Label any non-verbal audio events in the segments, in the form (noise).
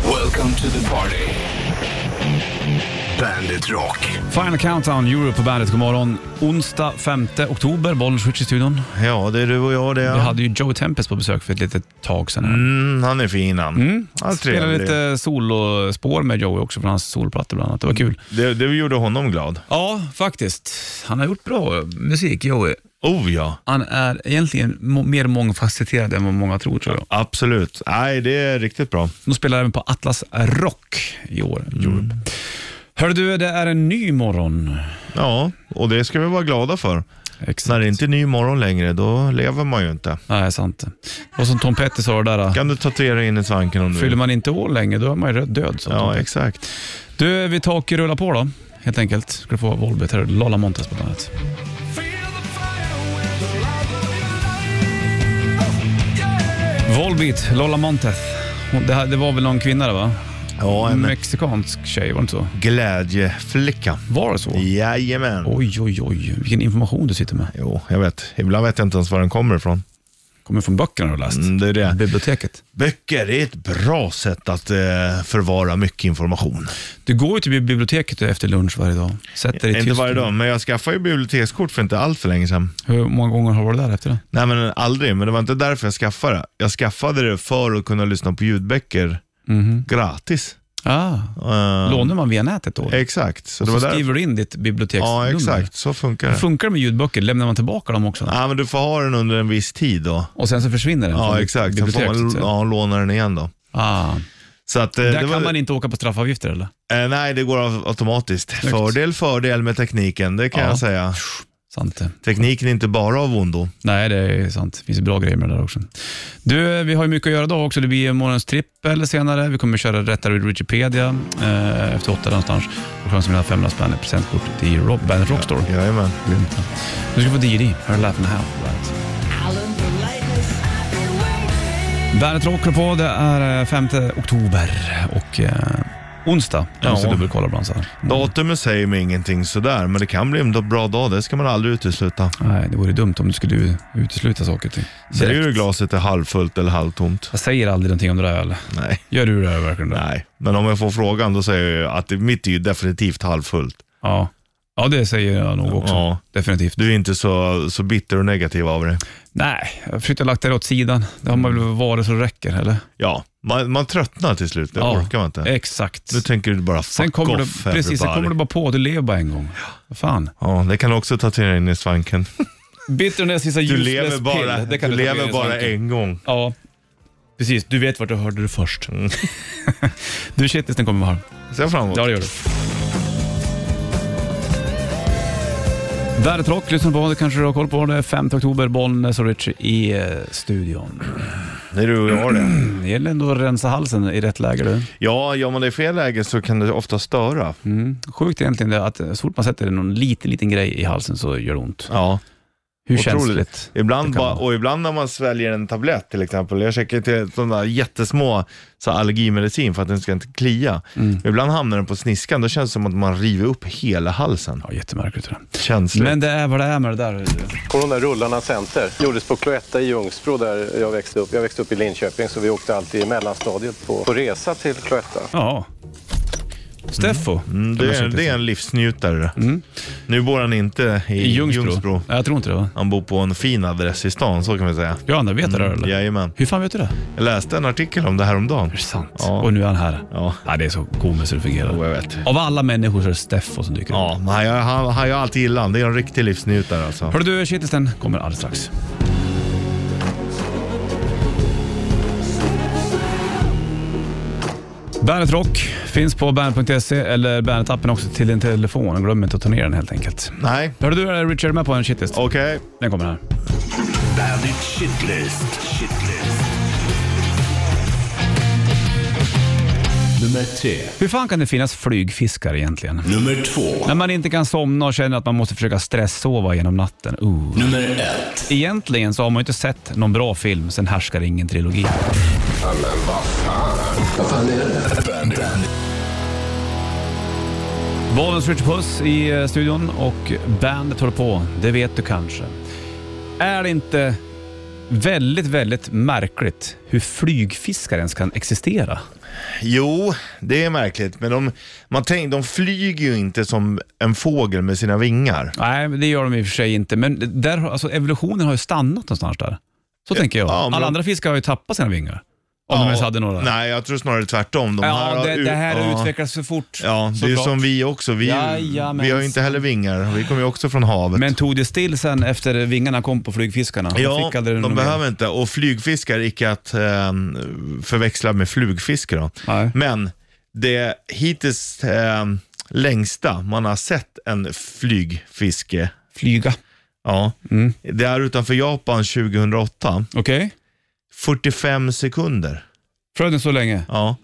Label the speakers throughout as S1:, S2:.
S1: Welcome to the party. Bandit Rock.
S2: Final Countdown, Europe på bandet. God morgon. Onsdag 5 oktober, Bollnäs Switch i studion.
S3: Ja, det är du och jag det.
S2: Vi hade ju Joey Tempest på besök för ett litet tag sedan. här.
S3: Mm, han är fin han. han är
S2: Spelade
S3: trevlig.
S2: lite solospår med Joey också från hans solplattor bland annat. Det var kul.
S3: Det, det gjorde honom glad.
S2: Ja, faktiskt. Han har gjort bra musik, Joey.
S3: Oh ja,
S2: Han är egentligen må- mer mångfacetterad än vad många tror, tror jag.
S3: absolut. Nej, det är riktigt bra.
S2: De spelar även på Atlas Rock i år,
S3: Mm.
S2: Europe. Hör du, det är en ny morgon.
S3: Ja, och det ska vi vara glada för. När det inte är ny morgon längre, då lever man ju inte.
S2: Nej, sant. Och som Tom Petty sa det där,
S3: Kan du tatuera in i svanken om du
S2: fyller
S3: vill?
S2: man inte år längre, då är man ju död. sa Tom
S3: Ja,
S2: Petty.
S3: exakt.
S2: Du, vi tar och rullar på då, helt enkelt. Ska du få Volbit här, Lala Montes på bandet. Volbit, Lola Montez. Hon- Det, här, det var väl någon kvinna det va?
S3: Ja, en
S2: Mm. Mexikansk tjej, var det inte så?
S3: glädjeflicka.
S2: Var det så?
S3: Jajamän.
S2: Oj, oj, oj. Vilken information du sitter med.
S3: Jo, jag vet. Ibland vet jag inte ens var den kommer ifrån.
S2: Kommer från böckerna du har läst.
S3: Mm, det är det.
S2: Biblioteket.
S3: Böcker är ett bra sätt att eh, förvara mycket information.
S2: Du går ju till biblioteket efter lunch varje dag. Sätter dig i
S3: Inte
S2: tyst-
S3: varje dag, men jag skaffade ju bibliotekskort för inte allt för länge sedan.
S2: Hur många gånger har du varit där efter det?
S3: Nej men aldrig, men det var inte därför jag skaffade det. Jag skaffade det för att kunna lyssna på ljudböcker
S2: Mhm.
S3: gratis.
S2: Ah,
S3: Eh,
S2: Lånar man via nätet då?
S3: Exakt, så det
S2: Så
S3: var därför.
S2: skriver du in ditt biblioteksnummer.
S3: Ja, exakt. Så funkar det.
S2: Funkar det med ljudböcker? Lämnar man tillbaka dem också?
S3: Ja, men du får ha den under en viss tid då.
S2: Och sen så försvinner den från
S3: Ja,
S2: ditt
S3: exakt. Sen får
S2: bibliotek?
S3: man
S2: så att säga.
S3: ja, låna den igen då.
S2: ah.
S3: Så att, eh,
S2: Där
S3: det
S2: kan
S3: var,
S2: man inte åka på straffavgifter eller?
S3: eh, nej, det går av- automatiskt. Fördel, fördel med tekniken, det kan
S2: Ja.
S3: jag säga.
S2: Sant det.
S3: Tekniken är inte bara av ondo.
S2: Nej, det är sant. Det finns bra grejer med det där också. Du, eh, vi har ju mycket att göra idag också. Det blir morgonens trippel senare. Vi kommer köra Rättare ur Wikipedia eh, efter åtta någonstans. Och chansen att vinna 500 spänn i presentkort till Rob, Bandet Rockstore.
S3: Jajamän.
S2: Grymt. Nu ska vi få DD. Här är Laugh and a Half på Bandet. Bandet Rock håller på. Det är eh, 5 oktober och eh, onsdag. Jag måste
S3: Ja.
S2: dubbelkolla ibland så här.
S3: Datumet säger mig ingenting sådär, men det kan bli en bra dag. Det ska man aldrig utesluta.
S2: Nej, det vore dumt om du skulle utesluta saker och ting.
S3: Ser
S2: Direkt.
S3: du glaset är halvfullt eller halvtomt?
S2: Jag säger aldrig någonting om det där eller?
S3: Nej.
S2: Gör du det här verkligen? Då?
S3: Nej, men om jag får frågan då säger jag att det- mitt är ju definitivt halvfullt.
S2: Ja. ja, det säger jag nog också.
S3: Ja.
S2: Definitivt.
S3: Du är inte så, så bitter och negativ av det.
S2: Nej, jag försökte lagt det åt sidan. Det har man väl varit så det räcker, eller?
S3: Ja, man, man tröttnar till slut. Det orkar man inte.
S2: Exakt.
S3: Nu tänker du bara fuck
S2: Eh, Sen kommer du,
S3: off
S2: precis, sen
S3: everybody.
S2: kommer du bara på att du lever bara en gång. Vad Fan.
S3: Ja, det kan du också tatuera in i svanken.
S2: Bitterness is a
S3: Du
S2: useless
S3: lever bara,
S2: pill. Det
S3: du
S2: kan ta med
S3: lever
S2: i
S3: bara
S2: svanken.
S3: en gång.
S2: Ja, precis. Du vet vart du hörde det först.
S3: Mm.
S2: (laughs) du, shitlisten kommer vara.
S3: Sen framåt.
S2: Ja, det gör du. Värdet Rock, lyssna på det kanske du har koll på. Det är 5 oktober, Bollnäs och Richie i eh, studion.
S3: Det är du och jag det.
S2: Det gäller ändå att rensa halsen i rätt läge du.
S3: Ja, gör man det i fel läge så kan det ofta störa.
S2: Sjukt egentligen det att eh, så fort man sätter någon liten, liten grej i halsen så gör det ont.
S3: Ja.
S2: Hur
S3: Otroligt.
S2: känsligt? Det
S3: Ibland
S2: kan
S3: bara,
S2: vara.
S3: och ibland när man sväljer en tablett till exempel. Jag käkar till sådana jättesmå så här allergimedicin för att den ska inte klia.
S2: Mm.
S3: Ibland hamnar den på sniskan. Då känns det som att man river upp hela halsen.
S2: Ja, jättemärkligt det där.
S3: Känsligt.
S2: Men det är vad det är med det där. hör du.
S4: Kommer de där rullarna center? Gjordes på Cloetta i Ljungsbro där jag växte upp. Jag växte upp i Linköping så vi åkte alltid i mellanstadiet på, på resa till Cloetta.
S2: Ja. Steffo.
S3: Mm, det, är, det är en livsnjutare. Nu bor han inte i,
S2: Mm. I Ljungsbro.
S3: Ljungsbro.
S2: Nej, jag tror inte det va?
S3: Han bor på en fin adress i stan, så kan vi säga.
S2: Ja, han vet det där
S3: Mm,
S2: eller?
S3: Jajamän.
S2: Hur fan vet du det?
S3: Jag läste en artikel om det här om dagen.
S2: Är det sant?
S3: Ja.
S2: Och nu är han här.
S3: Ja.
S2: Ja, det är så komiskt hur det fungerar.
S3: Jo, jag vet.
S2: Av alla människor så är det Steffo som dyker upp.
S3: Ja, men han, han, han, jag alltid gillar han. Det är en riktig
S2: (laughs)
S3: livsnjutare alltså.
S2: Hörru du, kittelsen kommer alldeles strax. Bandet Rock finns på bandet.se eller bandet-appen också till din telefon. Glöm inte att ta ner den helt enkelt.
S3: Nej,
S2: Hörru du, är Richard med på en shitlist?
S3: okej.
S2: Den kommer här.
S1: Bandit Shitlist. Shitlist. Nummer tre.
S2: Hur fan kan det finnas flygfiskar egentligen?
S1: Nummer två.
S2: När man inte kan somna och känner att man måste försöka stresssova genom natten. Uh.
S1: Nummer ett.
S2: Egentligen så har man ju inte sett någon bra film sen Härskar ingen-trilogin.
S1: Vad fan är det? Bandit.
S2: Bollens Richard Puss i eh, studion och bandet håller på, det vet du kanske. Är det inte väldigt, väldigt märkligt hur flygfiskar ens kan existera?
S3: Jo, det är märkligt. Men de, man tänk, de flyger ju inte som en fågel med sina vingar.
S2: Nej, men det gör de i och för sig inte. Men där, har- alltså, evolutionen har ju stannat någonstans där. Så tänker jag.
S3: ja, men-
S2: Alla andra fiskar har ju tappat sina vingar. Om de ens hade några.
S3: Nej, jag tror snarare tvärtom. De här
S2: ja,
S3: har
S2: det,
S3: ut-
S2: det här
S3: ja.
S2: utvecklas för fort.
S3: Ja, det är ju
S2: såklart.
S3: som vi också. Vi,
S2: Jajamensan.
S3: vi har ju inte heller vingar. Vi kommer ju också från havet.
S2: Men tog det still sen efter vingarna kom på flygfiskarna?
S3: ja,
S2: fick aldrig
S3: de
S2: någon
S3: behöver
S2: mer.
S3: inte. Och flygfiskar, icke att eh, förväxla med flugfiske då.
S2: Nej.
S3: Men det hittills eh, längsta man har sett en flygfiske,
S2: Flyga.
S3: ja,
S2: Mm.
S3: det är utanför Japan 2008.
S2: Okej.
S3: 45 sekunder.
S2: Fröden så länge.
S3: Ja.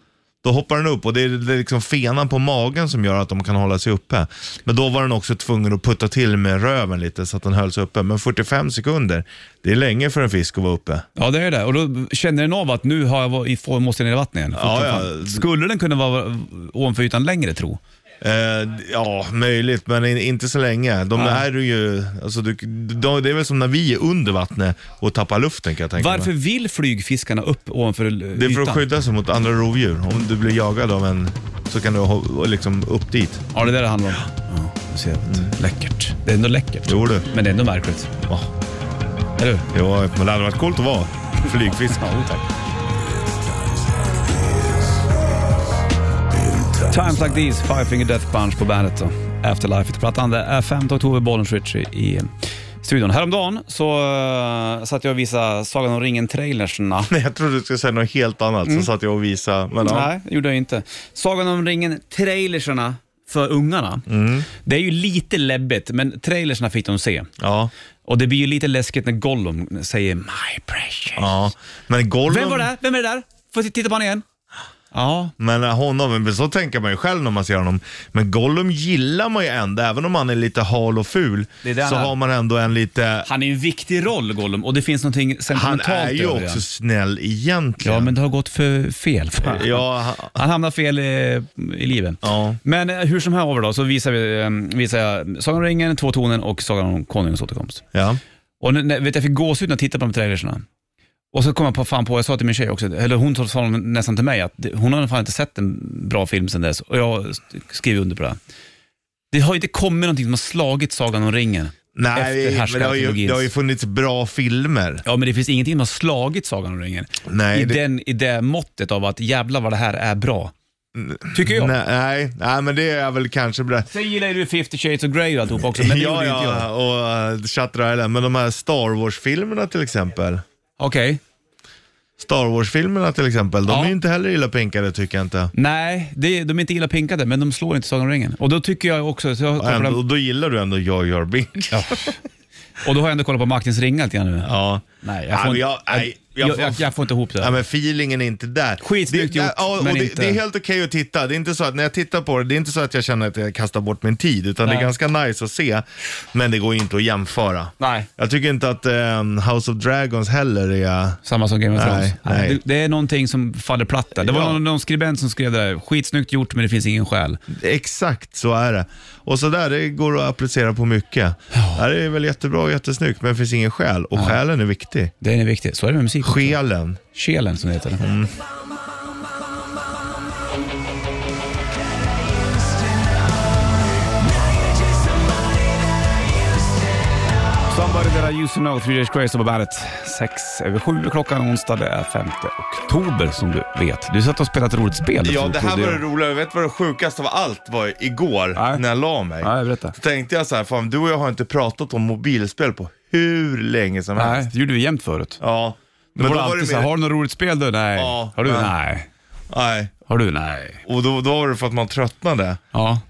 S3: Då hoppar den upp och det är, det är liksom fenan på magen som gör att de kan hålla sig uppe. Men då var den också tvungen att putta till med röven lite så att den höll sig uppe. Men 45 sekunder, det är länge för en fisk att vara uppe.
S2: Ja, det är det. Och då känner den av att nu har jag, varit- får- måste jag ner i vattnet igen.
S3: Ja, ja.
S2: Fortfarande. Skulle den kunna vara ovanför ytan längre, tro?
S3: Eh, ja, möjligt, men in, inte så länge. De här är ju, alltså, du, de, det är väl som när vi är under vattnet och tappar luften kan jag tänka
S2: Varför
S3: mig.
S2: vill flygfiskarna upp ovanför ytan?
S3: Det är för att skydda sig mot andra rovdjur. Om du blir jagad av en så kan du ho- liksom upp dit.
S2: Ja, det är det det handlar om. Ja, du ser jag. Läckert. Det är ändå läckert.
S3: Mm. Jo du.
S2: Men det är ändå märkligt.
S3: Ja,
S2: Eller hur?
S3: jo, men det hade varit coolt att vara flygfisk.
S2: Ja, tack. Times like these, Five Finger Death Punch på bandet då. Afterlife heter plattan. Det är 5 oktober, Bollens Ritchie i studion. Häromdagen så uh, satt jag och visade Sagan om ringen-trailerserna.
S3: (laughs) Nej, jag trodde du skulle säga något helt annat, så satt jag och visade. Men, ja.
S2: Mm. Nej, det gjorde jag inte. Sagan om ringen-trailerserna för ungarna.
S3: Mm.
S2: Det är ju lite läbbigt, men trailerserna fick de se.
S3: Ja,
S2: Och det blir ju lite läskigt när Gollum säger “My precious”.
S3: ja. Men Gollum...
S2: Vem var det? Vem är det där? Får jag titta på honom igen? Ja,
S3: Men honom, men så tänker man ju själv när man ser honom. Men Gollum gillar man ju ändå, även om han är lite hal och ful,
S2: Det är det
S3: så
S2: han är.
S3: har man ändå en lite...
S2: Han är ju en viktig roll, Gollum, och det finns någonting
S3: Han
S2: sentimentalt
S3: är ju
S2: över det.
S3: också snäll egentligen.
S2: Ja, men det har gått för fel.
S3: Ja, han-
S2: Han hamnar fel i, i livet.
S3: Ja.
S2: Men eh, hur som helst över då, så visar, vi, eh, visar jag Sagan om ringen, Två tonen och Sagan om konungens återkomst.
S3: ja.
S2: Och när- när, vet, jag fick gåshud när jag tittade på de trailerserna. Och så kom jag på, fan på, jag sa till min tjej också, eller hon sa- sa nästan till mig att det- hon har fan inte sett en bra film sedan dess. Och jag skriver under på det. Det har ju inte kommit någonting som har slagit Sagan om ringen.
S3: Nej,
S2: Efter
S3: men det har, ju,
S2: härskarteknologins.
S3: det har ju funnits bra filmer.
S2: Ja, men det finns ingenting som har slagit Sagan om ringen.
S3: Nej,
S2: I,
S3: det-
S2: den, I det måttet av att jävla vad det här är bra. Tycker jag.
S3: Nej, nej, nej, men det är väl kanske bra.
S2: Sen gillar ju 50 shades of Grey och alltihopa också, men det
S3: (laughs) ja,
S2: gjorde inte jag.
S3: ja, och uh, Shutter Island. Men de här Star Wars-filmerna till exempel.
S2: Okej.
S3: Star Wars-filmerna till exempel, de
S2: Ja.
S3: är ju inte heller illa pinkade tycker jag inte.
S2: Nej, det, de är inte illa pinkade, men de slår inte Sagan om ringen. Och då tycker jag också... Så jag
S3: Och
S2: kopplar,
S3: Ändå, och då gillar du ändå Jag gör Binks. Ja.
S2: och då har jag ändå kollat på Maktens ringar lite grann nu.
S3: ja.
S2: Nej, jag
S3: Ja,
S2: får,
S3: men
S2: inte-
S3: jag- nej,
S2: jag,
S3: jag
S2: jag,
S3: får-
S2: jag, får inte ihop det.
S3: Ja, men feelingen är inte där.
S2: Skitsnyggt
S3: det,
S2: gjort,
S3: ja, och
S2: men
S3: det,
S2: inte-
S3: det är helt okej att titta. Det är inte så att när jag tittar på det, det är inte så att jag känner att jag kastar bort min tid, utan det
S2: Nej.
S3: är ganska nice att se. Men det går ju inte att jämföra.
S2: Nej.
S3: Jag tycker inte att ehm, House of Dragons heller är...
S2: Samma som Game of
S3: Nej,
S2: Thrones. Nej,
S3: nej.
S2: Det, det är någonting som faller platt där. Det var
S3: Ja.
S2: någon, någon skribent som skrev det där, skitsnyggt gjort men det finns ingen själ.
S3: Exakt så är det. Och så där, det går att applicera på mycket. Det här är väl jättebra och jättesnyggt, men det finns ingen själ. Och själen är viktig.
S2: Det är viktigt. Så är det med musik.
S3: Själen.
S2: Kelen som det heter. Somebody that I used to know, Three Days Grace på bandet. Sex över sju klockan onsdag, det är 5 oktober som du vet. Du satt och spelade ett roligt spel.
S3: Ja, det här
S2: trodde
S3: var
S2: jag.
S3: det roliga. Jag vet vad det sjukaste av allt var igår
S2: Nej.
S3: när jag la mig.
S2: Nej, berätta.
S3: Då tänkte jag så här, fan du och jag har inte pratat om mobilspel på hur länge som
S2: Nej,
S3: helst.
S2: det gjorde vi jämt förut.
S3: Ja.
S2: Men då var det alltid så här,
S3: mer-
S2: har du något roligt spel du? Nej.
S3: Ja,
S2: har du?
S3: nej.
S2: Nej.
S3: Nej,
S2: Har du? Nej.
S3: och då, då var det för att man tröttnade.
S2: Ja,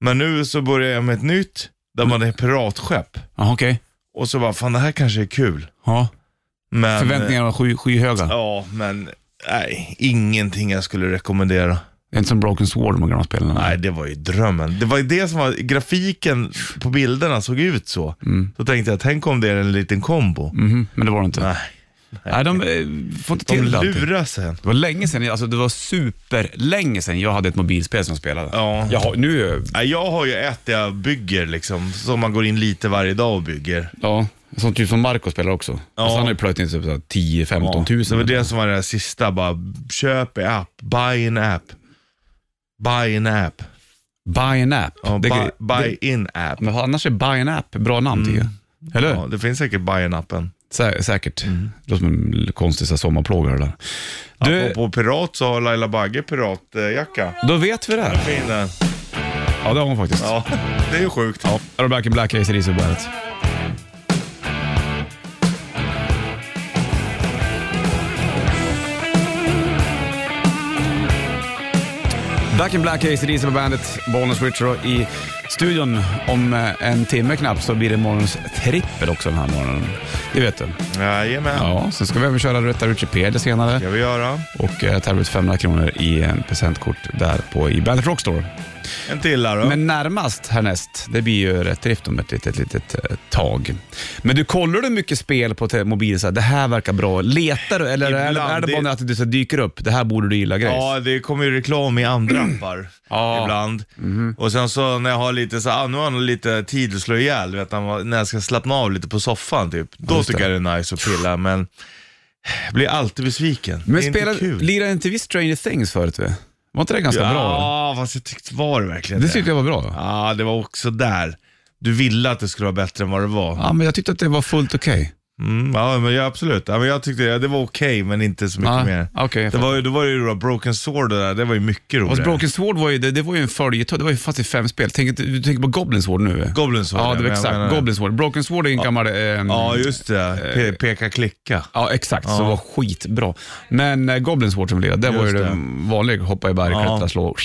S3: Men nu så börjar jag med ett nytt, där man är piratskepp.
S2: ja okej.
S3: Och så bara, fan det här kanske är kul.
S2: Ja.
S3: Men,
S2: Förväntningarna var sky, skyhöga.
S3: Ja, men nej, ingenting jag skulle rekommendera.
S2: Det är inte som Broken Sword, de här gamla spelen.
S3: Nej, det var ju drömmen. Det var ju det som var, grafiken på bilderna såg ut så.
S2: Mm.
S3: Då tänkte jag, tänk om det är en liten kombo.
S2: Mhm, men det var det inte. Nej,
S3: Nej,
S2: de eh, får inte
S3: de
S2: till det alltid.
S3: lurar sen.
S2: Det var länge sedan, alltså det var superlänge sedan jag hade ett mobilspel som jag spelade.
S3: Ja.
S2: Jag har, nu,
S3: Nej, Jag har ju ett jag bygger liksom, som man går in lite varje dag och bygger.
S2: ja, Sånt typ som Marco spelar också. Fast han har ju plöjt in typ så här 10-15
S3: Ja,
S2: 000.
S3: Det var det som var det där sista, bara köp en app, buy an app. Buy an app.
S2: Buy an app.
S3: Ja,
S2: Det-
S3: buy,
S2: det- Mm.
S3: buy in app.
S2: Men annars är Buy an app bra namn tycker jag. Eller
S3: Mm. Ja, Mm. det finns säkert buy in appen.
S2: Sä- Säkert. Det låter som en konstig så här sommarplåga det där. Du,
S3: Du... På pirat så har Laila Bagge piratjacka.
S2: då vet vi det här.
S3: Fin den.
S2: Ja, det har hon faktiskt.
S3: Ja, det är ju sjukt.
S2: Är du Black in Black, Ace Rizzo på bandet. Black in Black, Ace Rizzo på bandet. Bollnäs Richard i studion. Om eh, en timme knappt så blir det morgonens trippel också den här morgonen. Det vet du.
S3: Jajamän.
S2: Ja, sen ska vi även köra Rätta Wikipedia senare
S3: ska vi göra.
S2: och eh, tävla ut 500 kronor i en presentkort där på i Bandet Rockstore.
S3: En till här då.
S2: Men närmast härnäst, det blir ju rätt drift om ett litet, litet eh, tag. Men du kollar du mycket spel på te- mobilen så här, det här verkar bra. Letar du eller är, det-
S3: Ibland,
S2: är det bara
S3: det-
S2: att du så här dyker upp, det här borde du gilla grejs?
S3: Ja, det kommer ju reklam i andra appar
S2: Mm. Ja. Mhm.
S3: ibland. Och sen så när jag har lite så här, ah, nu har han lite tid att slå ihjäl, vet han, när jag ska slappna av lite på soffan typ. Då
S2: just
S3: tycker
S2: det.
S3: jag det är nice att pilla, men jag blir alltid besviken.
S2: Men
S3: det är
S2: spelar,
S3: inte kul.
S2: lirade inte vi Stranger Things förut? vi? Var inte det ganska bra?
S3: Ja, fast jag tyckte, var det verkligen
S2: Det
S3: det?
S2: tyckte jag var bra.
S3: Ja, det var också där. Du ville att det skulle vara bättre än vad det var.
S2: Ja, men jag tyckte att det var fullt okej.
S3: Mm, ja, men ja, absolut. Ja, men jag tyckte ja, det var okej, men inte så mycket
S2: Ja,
S3: mer.
S2: okej, jag
S3: det var, ju- då var det ju då Broken Sword och det där, det var ju mycket roligare.
S2: Fast Broken Sword var ju, det, det var ju en följetong, det var ju faktiskt fem spel. Tänk, inte- du tänker på Goblin Sword nu? eh?
S3: Goblin Sword,
S2: Ja, det
S3: ja,
S2: var
S3: men jag
S2: exakt.
S3: menar-
S2: Goblin Sword. Broken Sword är en gammal... ehm,
S3: Ja, just det. Pe- peka, klicka.
S2: Ja, exakt. Som var skitbra. Men eh, Goblins Water som lirade, det var ju
S3: Just det.
S2: den vanliga. Hoppa i berg,
S3: Ja.
S2: klättra, slå.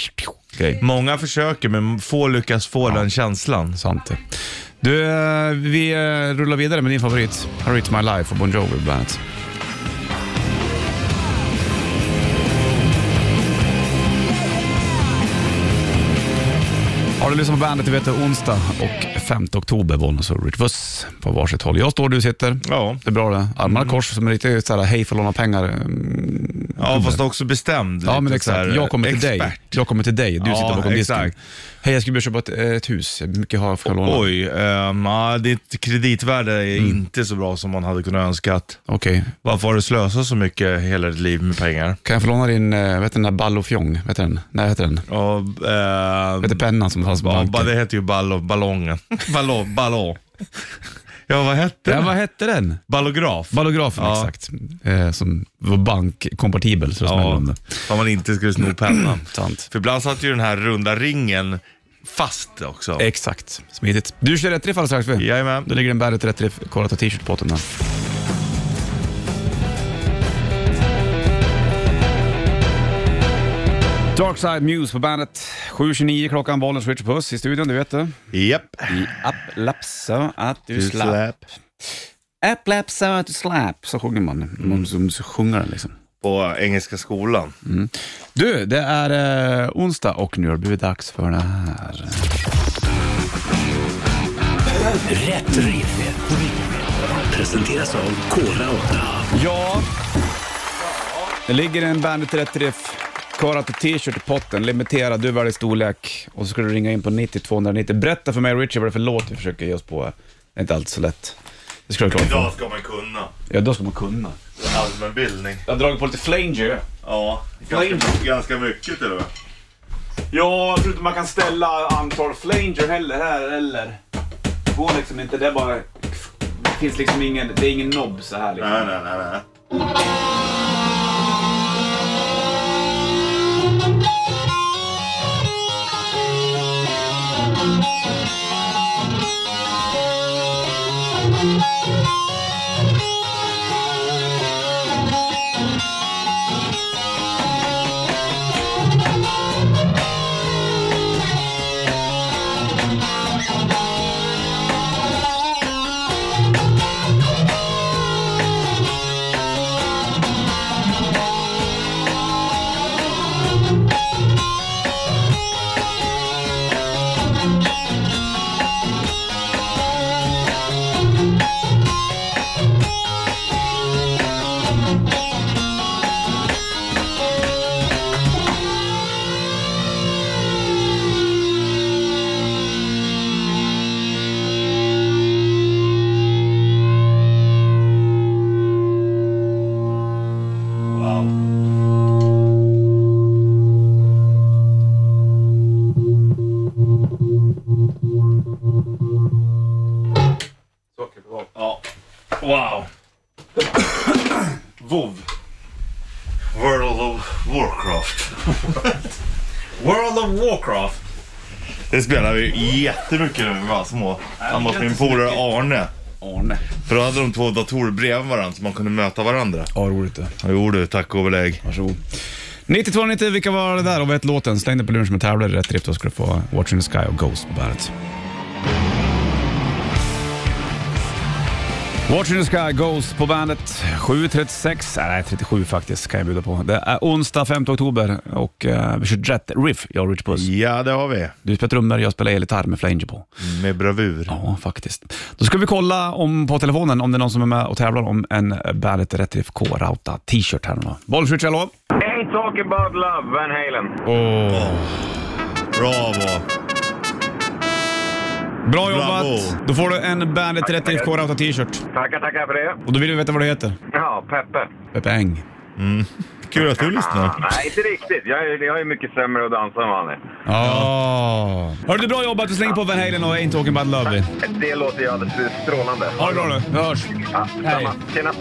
S2: Grej.
S3: Många försöker, men få lyckas få den känslan.
S2: Sant det. Du, eh, vi eh, rullar vidare med din favorit. How It's My Life och Bon Jovi bland annat. Har du lyssnat på bandet, du vet det, onsdag och 5 oktober, Bollnäs och Rich Buss på varsitt håll. Jag står, du sitter.
S3: Ja. Mm.
S2: Det är bra det. Armarna kors som är lite såhär, hej för låna pengar. mm,
S3: Ja, fast också bestämd.
S2: Ja,
S3: lite
S2: men
S3: så
S2: exakt.
S3: här,
S2: Jag kommer till
S3: expert.
S2: dig. Jag kommer till dig. Du
S3: Ja,
S2: sitter bakom disken.
S3: exakt.
S2: Hej, jag skulle börja köpa ett, ett hus. Hur mycket har jag för att låna? Mm. Okej.
S3: Oj, ehm, ja, ditt kreditvärde är inte så bra som man hade kunnat önskat. Varför har du slösat så mycket hela ditt liv med pengar?
S2: Kan jag få låna din, eh, vad heter den där Ballofjong? Vad heter den? Nej, vad heter den?
S3: Och, ehm,
S2: Vad heter pennan som fanns på
S3: ja, ba-
S2: banken?
S3: det heter ju
S2: (laughs)
S3: ballo, ballongen. Ballå, ballå. (laughs) Ja, vad hette
S2: Ja,
S3: den?
S2: vad hette den?
S3: Ballograf.
S2: Ballografen,
S3: Ja.
S2: exakt. Eh, som var bankkompatibel, så det smällde
S3: Ja,
S2: om det.
S3: vad man inte skulle sno pennan.
S2: Sant.
S3: För ibland satt ju den här runda ringen fast också.
S2: Exakt. Smidigt. Du kör rätt riff alldeles strax. vi.
S3: Jajamän.
S2: Då ligger en Bandet Rätt Riff kolla ta t-shirt på båten där. Darkside Muse på bandet. 7.29 klockan, bollen switch puss i studion, du vet det.
S3: Japp.
S2: I app lapsa att du slapp. App lapsa att du slapp, så sjunger man. Man som sjunger den liksom.
S3: På Engelska skolan.
S2: Du, det är eh, onsdag och nu har det blivit dags för det här.
S1: Rätt riff. Presenteras av Kora 8.
S2: Ja, det ligger en Bandet Rätt Riff karat och t-shirt i potten, limiterad, du väljer storlek och så ska du ringa in på 90 290. Berätta för mig Richard vad det är för låt vi försöker ge oss på. Det är inte alltid så lätt. Det ska du klara för.
S3: ska man kunna.
S2: Ja, då ska man kunna.
S3: Allmänbildning.
S2: Jag har dragit på lite flanger.
S3: Ja,
S2: ganska-
S3: ganska mycket till och med.
S2: Ja, jag tror inte man kan ställa antal flanger heller här eller. Det går liksom inte, det är bara... Det finns liksom ingen, det är ingen nobb så här liksom.
S3: Nej, nej, nej.
S5: Thank World of Warcraft.
S3: Det spelade vi jättemycket när vi var små. Han var min polare Arne.
S2: Arne.
S3: För då hade de två datorer bredvid varandra så man kunde möta varandra.
S2: Ja, roligt det.
S3: Jo du, tack och belägg.
S2: Varsågod. 9290, vilka var det där och vad hette låten? Släng den på luren som en tävlare i rätt drift och skulle få Watching the Sky och Ghost på bandet. Watching the Sky, Ghost på bandet. 7.36, nej 37 faktiskt kan jag bjuda på. Det är onsdag 5 oktober och eh, vi kör rätt riff, jag och Rich Puss.
S3: Ja, det har vi.
S2: Du spelar trummor, jag spelar elgitarr med flange på.
S3: Med bravur.
S2: Ja, faktiskt. Då ska vi kolla om, på telefonen om det är någon som är med och tävlar om en eh, Bandet Rätt Riff K-Rauta t-shirt här nu. Bollswitch, hallå?
S6: Ain't talking about love, Van Halen.
S3: Bravo.
S2: Bra jobbat!
S3: Bravo.
S2: Då får du en Bandet Rätt Riff K-Rauta t-shirt.
S6: Tackar, tackar för det.
S2: Och då vill vi veta vad du heter.
S6: Ja, Peppe.
S2: Peppe Eng.
S3: Kul att du
S6: Ah,
S3: lyssnar.
S6: nej, inte riktigt. Jag är, jag är mycket sämre att dansa än vad han är.
S2: Ja. Hörru du, bra jobbat. Vi slänger på Van Halen och Ain't Talking About Love. Vi.
S6: Det låter ju alldeles strålande.
S2: Ha det bra nu. Vi hörs.
S6: Ja,
S2: Hej.
S6: samma. Tjena.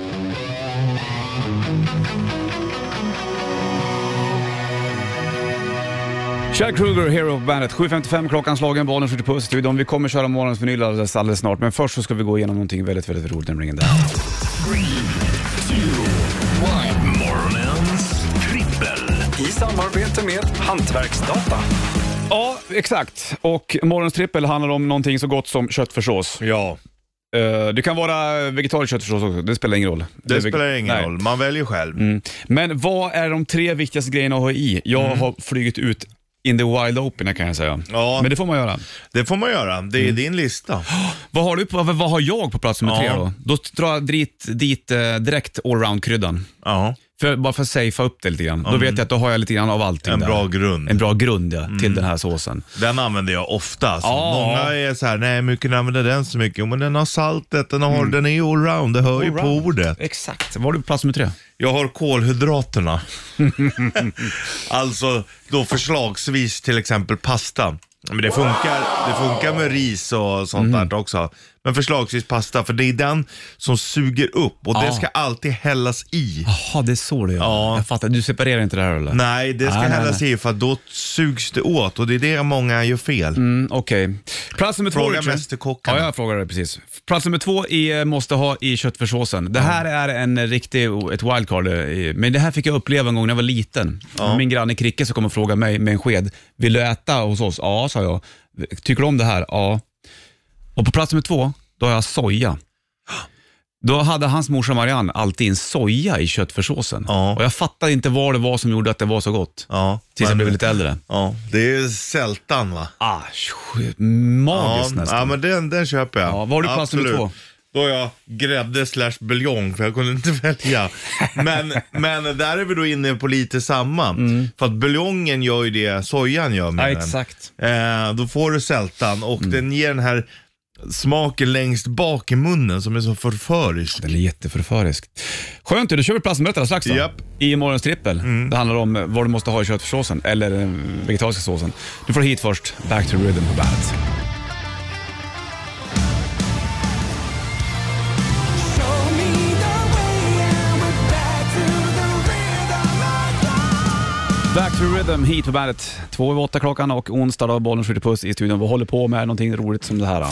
S2: Chad Kruger, Hero of Bandet. 7.55 klockan slagen, bollen skjuter puss i studion. Vi kommer köra morgonens vinyl alldeles, alldeles snart, men först så ska vi gå igenom någonting väldigt, väldigt roligt, nämligen det här.
S1: Morgonens trippel.
S7: I samarbete med Hantverksdata.
S2: Ja, exakt. Och morgonens trippel handlar om någonting så gott som köttfärssås.
S3: Ja,
S2: Eh, Det kan vara vegetarisk köttfärssås också, det spelar ingen roll.
S3: det,
S2: är veg-
S3: spelar ingen
S2: Nej.
S3: roll. Man väljer själv.
S2: Men vad är de tre viktigaste grejerna att ha i? Jag har flugit ut in the wild open kan jag säga.
S3: Mm. Ja.
S2: Men det får man göra.
S3: Det får man göra. Det är din (gasps) lista.
S2: Vad har, du på, vad har jag på plats nummer tre då?
S3: Ja.
S2: Då drar jag dit, dit eh, direkt allround-kryddan.
S3: Ja,
S2: För, bara för att safea upp det lite grann. Då vet jag att då har jag lite grann av allting
S3: mm. en
S2: där.
S3: bra grund. Mm.
S2: En bra grund ja, till den här såsen.
S3: Den använder jag ofta. Alltså.
S2: Ja.
S3: Många är så här, nej, mycket använder den så mycket. Jo, Men den har saltet, den, har, den är allround, det hör ju på ordet.
S2: Exakt. Vad har du på plats nummer tre?
S3: Jag har kolhydraterna.
S2: (laughs)
S3: alltså då förslagsvis till exempel pasta. Men det funkar, det funkar med ris och sånt
S2: Mm.
S3: där också. Men förslagsvis pasta, för det är den som suger upp och
S2: Ja.
S3: det ska alltid hällas i.
S2: Jaha, det är så det är.
S3: Ja.
S2: Jag fattar. Du separerar inte det här eller?
S3: Nej, det ska
S2: Nej, nej,
S3: hällas i för att då sugs det åt och det är det många gör fel.
S2: Mm, Okej. Plats nummer två.
S3: Fråga
S2: Richard.
S3: mästerkockarna.
S2: Ja, jag frågade det precis. Plats nummer två i eh, måste ha i köttfärssåsen. Det här är en eh, riktig, ett wildcard. eh, i- Men det här fick jag uppleva en gång när jag var liten. Min granne Kricke så kom och frågade mig med en sked. Vill du äta hos oss? Ja, sa jag. Tycker du om det här? Ja. Och på plats nummer två, då har jag soja. Då hade hans morsa Marianne alltid en soja i köttfärssåsen.
S3: Ja.
S2: Och jag fattade inte vad det var som gjorde att det var så gott.
S3: Ja,
S2: Tills jag
S3: men-
S2: blev lite äldre.
S3: Ja, det är sältan va?
S2: Ah, sj- magiskt
S3: Ja,
S2: nästan.
S3: ja men den, den köper jag.
S2: Ja, vad har du på plats nummer
S3: Absolut.
S2: två?
S3: Då har jag grädde slash buljong för jag kunde inte (laughs) välja. Men, men där är vi då inne på lite samma. För att buljongen gör ju det sojan gör med
S2: Mm. Ja,
S3: den.
S2: exakt. Mm.
S3: Eh, då får du sältan och den ger den här smaken längst bak i munnen som är så förförisk.
S2: Den är jätteförförisk. Skönt du, då kör vi plats med rätt strax då.
S3: Japp. Mm.
S2: I morgons trippel. Det handlar om eh, vad du måste ha i köttfärssåsen, eller den vegetariska såsen. Du får hit först, Back to Rhythm på bandet. Back to Rhythm hit på bandet. Två över åtta klockan och onsdag då, bollen skjuter puss i studion. Vi håller på med någonting roligt som det här. Då.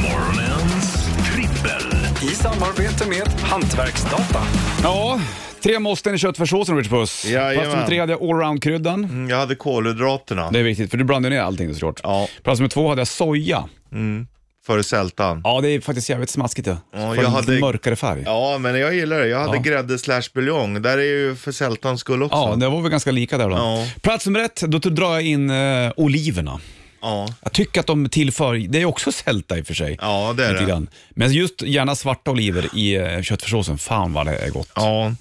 S1: Morgonens trippel.
S7: I samarbete med Hantverksdata.
S2: Ja, tre måsten i köttfärssåsen Rich Puss.
S3: Jajamän.
S2: Plats nummer tre hade jag allround-kryddan.
S3: Mm, Jag hade kolhydraterna
S2: Det är viktigt, för du blandade ner allting såklart.
S3: Ja.
S2: Plats nummer två hade jag soja.
S3: före sältan. Ja.
S2: Ja, det är faktiskt jävligt smaskigt det. Får
S3: jag
S2: en
S3: hade-
S2: mörkare färg. Ja.
S3: men jag gillar det. Jag hade
S2: Ja.
S3: grädde slash buljong. Där är ju för sältans skull också.
S2: det var väl ganska lika där då.
S3: Ja.
S2: Plats nummer ett, då drar jag in eh, oliverna.
S3: ja.
S2: Jag tycker att de tillför, det är också sälta i och för sig.
S3: ja det är
S2: lite
S3: det.
S2: grann. Men just gärna svarta oliver i eh, köttfärssåsen, fan vad det är gott.
S3: Ja,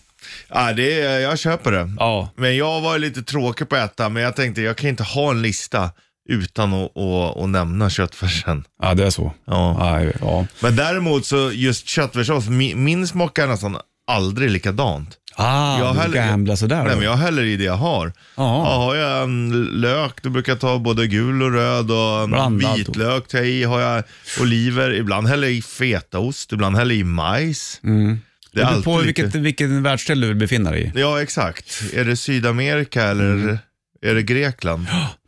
S3: ja det är, jag köper det.
S2: Ja.
S3: Men jag var ju lite tråkig på att äta, men jag tänkte jag kan inte ha en lista utan att, att, att nämna köttfärsen.
S2: Ja, det är så.
S3: Ja.
S2: Aj, ja.
S3: Men däremot så just köttfärssås, min, min smakar nästan aldrig likadant.
S2: Ah,
S3: Jag
S2: du
S3: häller-
S2: gamblar sådär.
S3: Nej
S2: då.
S3: men jag häller i det jag har.
S2: Ja.
S3: Ja, har jag en lök, då brukar jag ta både gul och röd och
S2: Blandat.
S3: vitlök tar jag i. Har jag oliver, ibland häller jag i fetaost, ibland häller jag i majs. Det
S2: Mm. Det
S3: är
S2: beror på
S3: alltid
S2: vilket,
S3: lite-
S2: vilken världsdel du befinner dig i.
S3: Ja, exakt. Är det Sydamerika eller
S2: Mm.
S3: är det Grekland?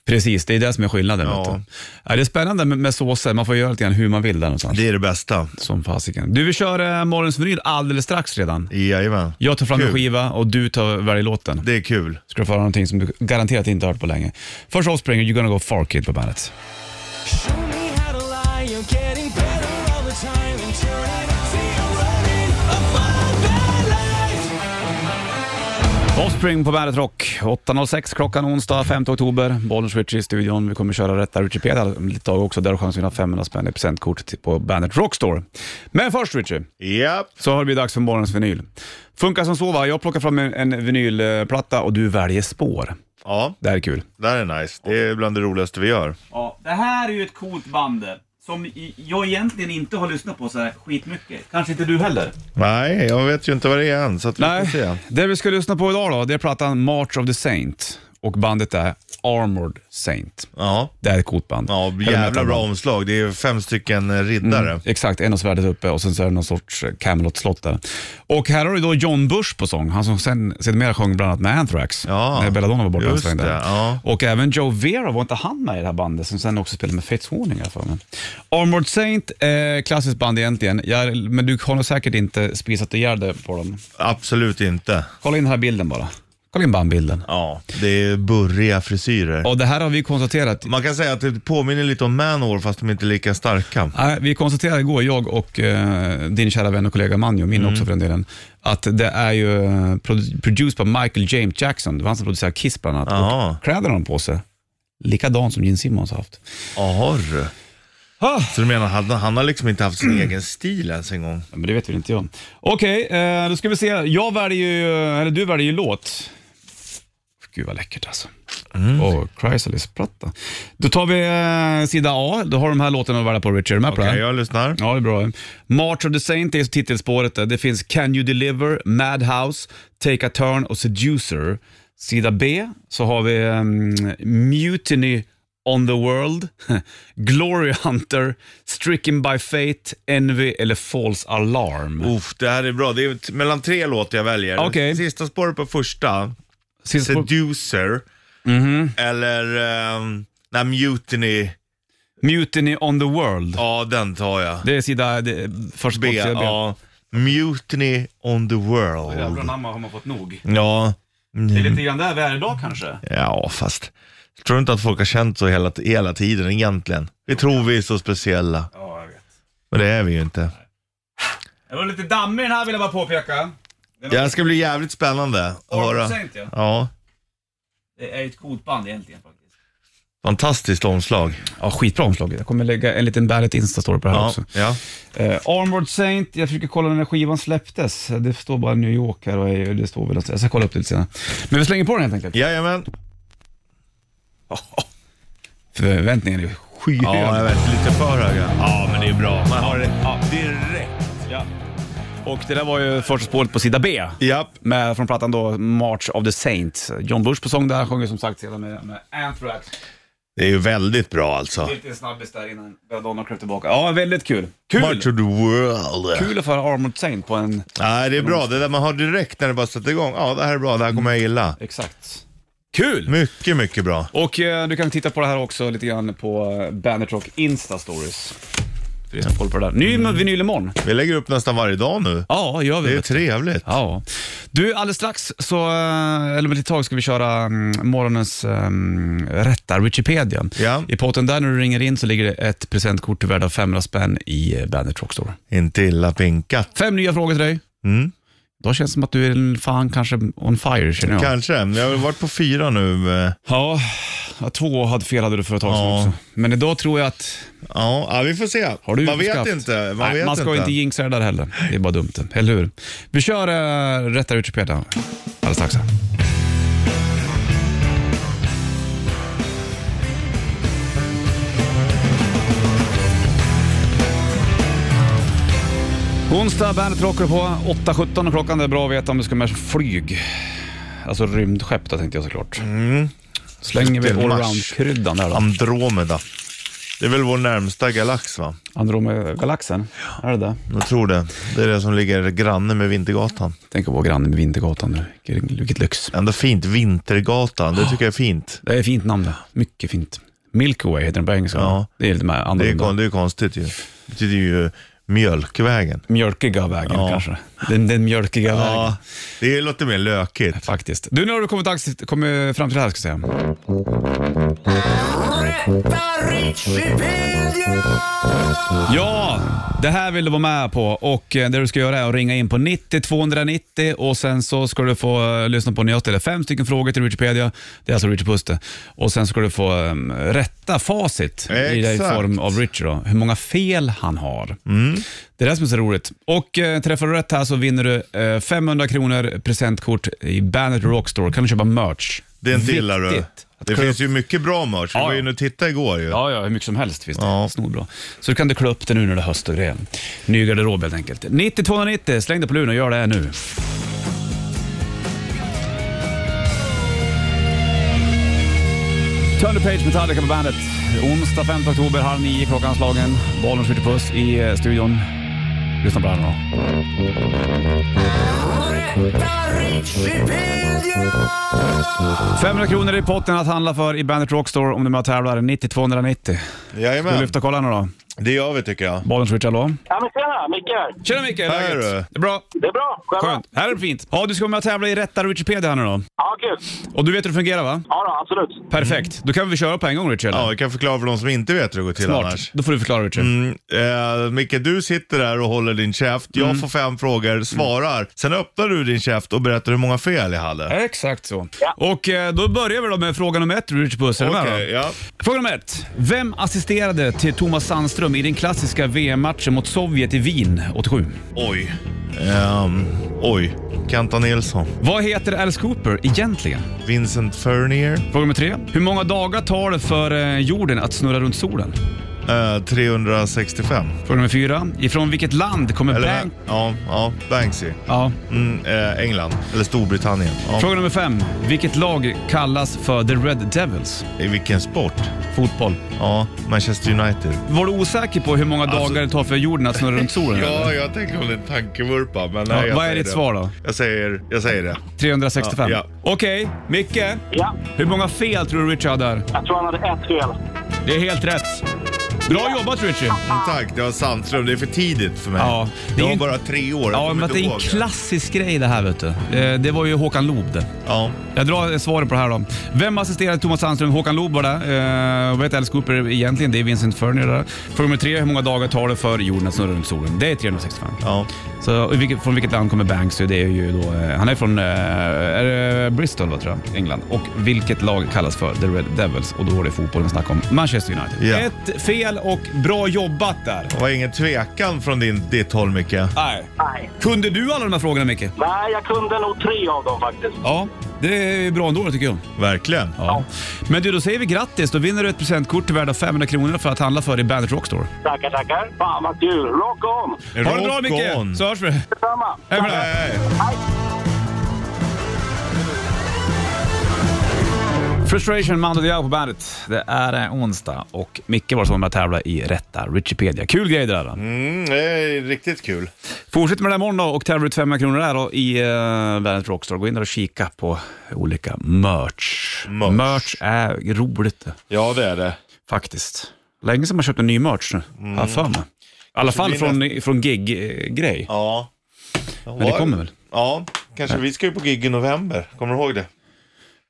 S2: Precis, det är det som är skillnaden.
S3: Ja.
S2: Vet du. Ja, det är spännande med, med såser, man får göra lite grann hur man vill där någonstans.
S3: Det är det bästa.
S2: Som fasiken. Du, vi kör eh, morgonens vinyl alldeles strax redan.
S3: Jajamän.
S2: Jag tar fram en
S3: Kul.
S2: skiva och du tar väljer låten.
S3: Det är kul.
S2: Ska du få höra någonting som du garanterat inte har hört på länge. Först Offspring, You're gonna go far kid på bandet.
S8: Show me how to lie. I'm getting better all the time. And eternity, I'm running a fun, bad life.
S2: Offspring på Bandet Rock. 8.06 klockan onsdag 5 oktober. Bollnäs Ritchie i studion. Vi kommer köra rätta Wikipedia om lite tag också. Där har du chansen att vinna 500 spänn i presentkort till- på Bandet Rockstore. Men först Ritchie,
S3: Japp.
S2: så har det blivit dags för morgonens vinyl. Funkar som så va, jag plockar fram en, en vinylplatta och du väljer spår.
S3: Ja,
S2: Det här är kul.
S3: det här är nice. Det är bland det roligaste vi gör.
S5: Ja, det här är ju ett coolt band eh, som i- jag egentligen inte har lyssnat på så här skitmycket. Kanske inte du heller?
S3: Nej, jag vet ju inte vad det är än, så att vi får se.
S2: Nej, det vi ska lyssna på idag då, det är plattan March of the Saint och bandet är Armored Saint.
S3: Ja.
S2: Det är ett coolt band.
S3: Ja,
S2: Heavy
S3: jävla
S2: metal Mm.
S3: bra
S2: band.
S3: omslag. Det är fem stycken eh, riddare.
S2: Exakt, en av svärdet uppe och sen så är det någon sorts eh, Camelot-slott där. Och här har du då John Bush på sång, han som sen sedermera sjöng bland annat med Anthrax,
S3: Ja,
S2: när Belladonna var borta en
S3: just
S2: sväng där.
S3: det, ja.
S2: Och även Joe Vera, var inte han med i det här bandet som sen också spelade med Fates Warning i alla fall? men. Armored Saint, eh, klassiskt band egentligen, Jag, men du har nog säkert inte spisat ihjäl dig på dem.
S3: Absolut inte.
S2: Kolla in den här bilden bara. Kolla in bandbilden.
S3: Ja, det är burriga frisyrer.
S2: Och det här har vi konstaterat.
S3: Man kan säga att det påminner lite om Manowar fast de inte är lika starka.
S2: Nej, Vi konstaterade igår, jag och eh, din kära vän och kollega Manjo, min också för den delen, att det är ju eh, produ- produced by Michael James Jackson. Det var han som producerade Kiss bland annat.
S3: Jaha.
S2: Och kläderna de på sig, likadant som Gene Simmons har haft.
S3: Jaha du.
S2: Ah. Mm.
S3: Så du menar, han, han har liksom inte haft sin egen stil ens en gång?
S2: Ja, Men det vet väl inte jag. Okej, eh, då ska vi se. Jag väljer ju, eller du väljer ju låt. Gud vad läckert alltså. Åh, oh, Chrysalis-platta. Då tar vi eh, sida A. Då har de här låtarna att välja på, Richard. Är du med på
S3: Okej,
S2: det här?
S3: jag lyssnar.
S2: Ja, det är bra. March of the Saint är titelspåret. Där. Det finns Can You Deliver, Madhouse, Take a Turn och Seducer. Sida B så har vi um, Mutiny on the World, (laughs) Glory Hunter, Stricken by Fate, Envy eller False Alarm.
S3: Uff, det här är bra. Det är t- mellan tre låtar jag väljer.
S2: Okej.
S3: Sista spåret på första,
S2: Sista spår-
S3: Seducer, eller um, nej, Mutiny.
S2: Mutiny on the World.
S3: Ja, den tar jag.
S2: Det är sida det, först
S3: B,
S2: sida B.
S3: ja. Mutiny on the world.
S5: Jävlar namn har man fått nog.
S3: Ja,
S5: Det
S3: Mm.
S5: är lite grann där vi är idag kanske.
S3: ja fast. Jag tror inte att folk har känt så hela, hela tiden egentligen. Vi tror vi är så speciella,
S5: Ja, jag vet.
S3: men det är vi ju inte.
S5: Det var lite dammig den här vill jag bara påpeka.
S3: Det här ska bli jävligt spännande att höra.
S5: Saint, ja.
S3: Ja,
S5: Det är ju ett coolt band egentligen faktiskt.
S3: fantastiskt omslag.
S2: Ja, skitbra omslag. Jag kommer lägga en liten Bandet Insta-story på det här
S3: Ja,
S2: också.
S3: ja.
S2: Eh, Armored Saint, jag försöker kolla när skivan släpptes. Det står bara New York här och det står väl Jag ska kolla upp det lite senare. Men vi slänger på den helt enkelt.
S3: Jajamän.
S2: Förväntningen är ju skyhög.
S3: Ja, jag vet. Lite för höga. Ja, men det är bra. Man har det direkt.
S2: och det där var ju första spåret på sida B.
S3: Japp.
S2: Med, från plattan då March of the Saint. John Bush på sång där, sjunger som sagt sedan med, med Anthrax.
S3: Det är ju väldigt bra alltså.
S2: Lite snabbis där innan Belladonna kröp tillbaka. Ja, väldigt kul. Kul!
S3: March of the world.
S2: Kul att få höra Armored Saint på en...
S3: Nej, det är bra. Det där man har direkt när det bara sätter igång. Ja, det här är bra. Det här kommer jag gilla.
S2: Exakt. Kul!
S3: Mycket, mycket bra.
S2: Och eh, du kan titta på det här också lite grann på eh, Bandit Rock Insta Stories. För er som har koll på det där. Ny vinyl imorgon.
S3: Vi lägger upp nästan varje dag nu.
S2: Ja, gör vi.
S3: Det är
S2: vet du.
S3: trevligt.
S2: Ja. Du, alldeles strax, så, eh, eller om ett litet tag, ska vi köra mm, morgonens um, rätta, Wikipedia.
S3: Ja.
S2: I potten där när du ringer in så ligger det ett presentkort till värde av 500 spänn i eh, Bandit Rock Store.
S3: Inte illa pinkat.
S2: Fem nya frågor till dig.
S3: Mm.
S2: Då känns det som att du är en fan kanske on fire, känner jag.
S3: Kanske. Jag har väl varit på fyra nu. eh.
S2: Ja, två hade fel hade du för ett tag sedan
S3: Ja.
S2: också. Men idag tror jag att
S3: Ja, ja vi får se.
S2: Har du
S3: man vet
S2: skaft?
S3: inte. Man,
S2: Nej,
S3: vet
S2: man ska inte jinxa det där heller. Det är bara dumt, eller hur? Vi kör uh, Rätta Wikipedia alldeles strax. här. Onsdag, bandet rockar på. 8.17 är klockan. Det är bra att veta om du ska med flyg. Alltså rymdskepp då tänkte jag såklart. Slänger vi
S3: Till Mm. Mars.
S2: allround-kryddan där då.
S3: Andromeda. Det är väl vår närmsta galax va?
S2: Andromeda-galaxen, är det det?
S3: Jag tror det. Det är det som ligger granne med Vintergatan.
S2: Tänk att vara granne med Vintergatan nu. Vilken- Vilket lyx.
S3: Ändå fint, Vintergatan. Det tycker jag är fint.
S2: Det är ett fint namn det. Mycket fint. Milky Way heter den på engelska.
S3: Ja.
S2: Det är lite mer
S3: Det är,
S2: annorlunda.
S3: kon- det är konstigt ju. Det betyder ju mjölkvägen.
S2: mjölkiga vägen
S3: Ja.
S2: kanske. Den, den mjölkiga vägen.
S3: Ja, det låter mer lökigt.
S2: Faktiskt. Du, nu har du kommit, aktivt, kommit fram till det här ska jag säga. Ja, det här vill du vara med på och eh, det du ska göra är att ringa in på 90 290 och sen så ska du få eh, lyssna på när jag ställer fem stycken frågor till Wikipedia. Det är alltså Richard Puste. Och sen ska du få um, rätta facit i dig
S3: Exakt.
S2: form av Richard då, hur många fel han har. Det är det som är så roligt. Och eh, träffar du rätt här så vinner du eh, 500 kronor presentkort i Bandet Rockstore. Kan du köpa merch.
S3: Den gillar du.
S2: Viktigt att
S3: Det
S2: klä
S3: finns
S2: upp-
S3: ju mycket bra merch. Vi
S2: Ja,
S3: var
S2: ja.
S3: ju inne och tittade igår ju.
S2: Ja, ja, hur mycket som helst finns det.
S3: Ja.
S2: Snorbra. Så du kan du klä upp det nu när det är höst och grejer. Ny garderob helt enkelt. 90-290, släng dig på luren och gör det här nu. Turn the page Metallica på bandet. Onsdag 5 oktober, halv nio klockan slagen. Bollen skjuter puss i eh, studion. Lyssna på det här nu då.
S8: Rippelio!
S2: 500 kronor i potten att handla för i Bandet Rockstore om du är med och tävlar. 90-290. Ska vi
S3: Jajamän,
S2: lyfta och kolla nu då?
S3: det gör vi tycker jag.
S2: Bollen skjuter, hallå?
S9: Ja, men tjena, Micke.
S2: Tjena Micke, hur är
S3: Här är
S2: läget?
S3: du.
S2: Det är bra.
S9: Det är bra. Själva?
S2: Skönt. Här är det fint. Ja, du ska vara med och tävla i rätta Wikipedia här nu då.
S9: Ja, kul.
S2: Och du vet hur det fungerar va?
S9: Ja, då, absolut.
S2: Perfekt. Då kan vi köra på en gång Richard.
S3: Mm. Ja, vi kan förklara för de som inte vet hur det går till
S2: Smart.
S3: annars.
S2: Då får du förklara Richard.
S3: Mm, eh, Micke, du sitter där och håller din käft. Jag
S2: Mm.
S3: får fem frågor, svarar. Sen öppnar du din käft och berättar hur många fel jag hade.
S2: Exakt så. Och eh, då börjar vi då med fråga nummer ett Richard Puss. Är du med då?
S3: ja.
S2: Fråga nummer ett. Vem assisterade till Thomas Sandström i den klassiska VM-matchen mot Sovjet i Wien 87?
S3: Oj. Ehm, oj. Kenta Nilsson.
S2: Vad heter Alice Cooper egentligen?
S3: Vincent Fernier.
S2: Fråga nummer tre. Hur många dagar tar det för eh, jorden att snurra runt solen?
S3: Eh, 365.
S2: Fråga nummer fyra. Ifrån vilket land kommer
S3: Eller? eh,
S2: Bank...
S3: Ja, ja, Banksy.
S2: Ja.
S3: Mm, eh, England. Eller Storbritannien. Ja.
S2: Fråga nummer fem. Vilket lag kallas för The Red Devils?
S3: I vilken sport?
S2: Fotboll.
S3: Ja, Manchester United.
S2: Var du osäker på hur många
S3: Alltså-
S2: dagar det tar för jorden att snurra runt solen? eller?
S3: (laughs) Ja, jag tänker om det är en tankevurpa. Men
S2: Ja,
S3: nej, jag
S2: vad är
S3: säger
S2: ditt
S3: det.
S2: svar då? Mm.
S3: Jag säger, jag säger det.
S2: 365.
S3: Ja,
S2: Okej, Micke.
S9: Ja,
S2: Hur många fel tror du Richard hade här?
S9: jag tror han hade ett fel.
S2: Det är helt rätt. Bra jobbat Richard.
S3: Mm, tack, det var Sandström. Det är för tidigt för mig.
S2: Ja, det är
S3: jag
S2: ju
S3: var
S2: en-
S3: bara tre år. Jag
S2: Ja,
S3: kommer
S2: men
S3: inte
S2: det är en
S3: ihåg
S2: klassisk grej det här vet du. Eh, Det var ju Håkan Loob det.
S3: Ja.
S2: Jag drar svaren på det här då. Vem assisterade Thomas Sandström? Håkan Loob var det. Eh, och vad heter Alice Cooper egentligen? Det är Vincent Fernier där. Fråga nummer tre. Hur många dagar tar det för jorden att snurra runt solen? Det är 365.
S3: ja.
S2: Så, och vilket, från vilket land kommer Banksy? Det är ju då, eh, han är från eh, är det Bristol, va, tror jag, England. Och vilket lag kallas för The Red Devils? Och då är det fotbollen vi snackar om. Manchester United.
S3: Ja.
S2: Ett fel och bra jobbat där.
S3: Det var ingen tvekan från din, ditt håll, Micke.
S2: Nej.
S9: Nej.
S2: Kunde du alla de här frågorna, Micke?
S9: Nej, jag kunde nog tre av dem faktiskt.
S2: Ja, det är bra ändå tycker jag.
S3: Verkligen.
S2: Ja. Men du, då säger vi grattis. Då vinner du ett presentkort till värde av 500 kronor för att handla för i Bandet Rockstore.
S9: Tackar, tackar. Fan vad kul. Rock on!
S2: Ha det bra
S3: Rock on.
S2: Micke, så hörs vi.
S9: Detsamma.
S2: Hej med dig.
S3: Nej,
S2: Frustration, Mando Diao på bandet. Det är en onsdag och Micke var som med att tävla i rätta Richipedia. Kul grej det där. då.
S3: mm, det är riktigt kul.
S2: Fortsätt med det här imorgon då och tävla ut 500 kronor där då i uh, Bandet Rockstore. Gå in där och kika på olika merch.
S3: Merch.
S2: är roligt det,
S3: Ja, det är det.
S2: faktiskt. Länge sedan man köpt en ny merch nu, har jag för mig. I alla fall
S3: blir
S2: från, från gig-grej.
S3: Ja.
S2: Men det kommer väl.
S3: Ja, kanske. Vi ska ju på gig i november. Kommer du ihåg det?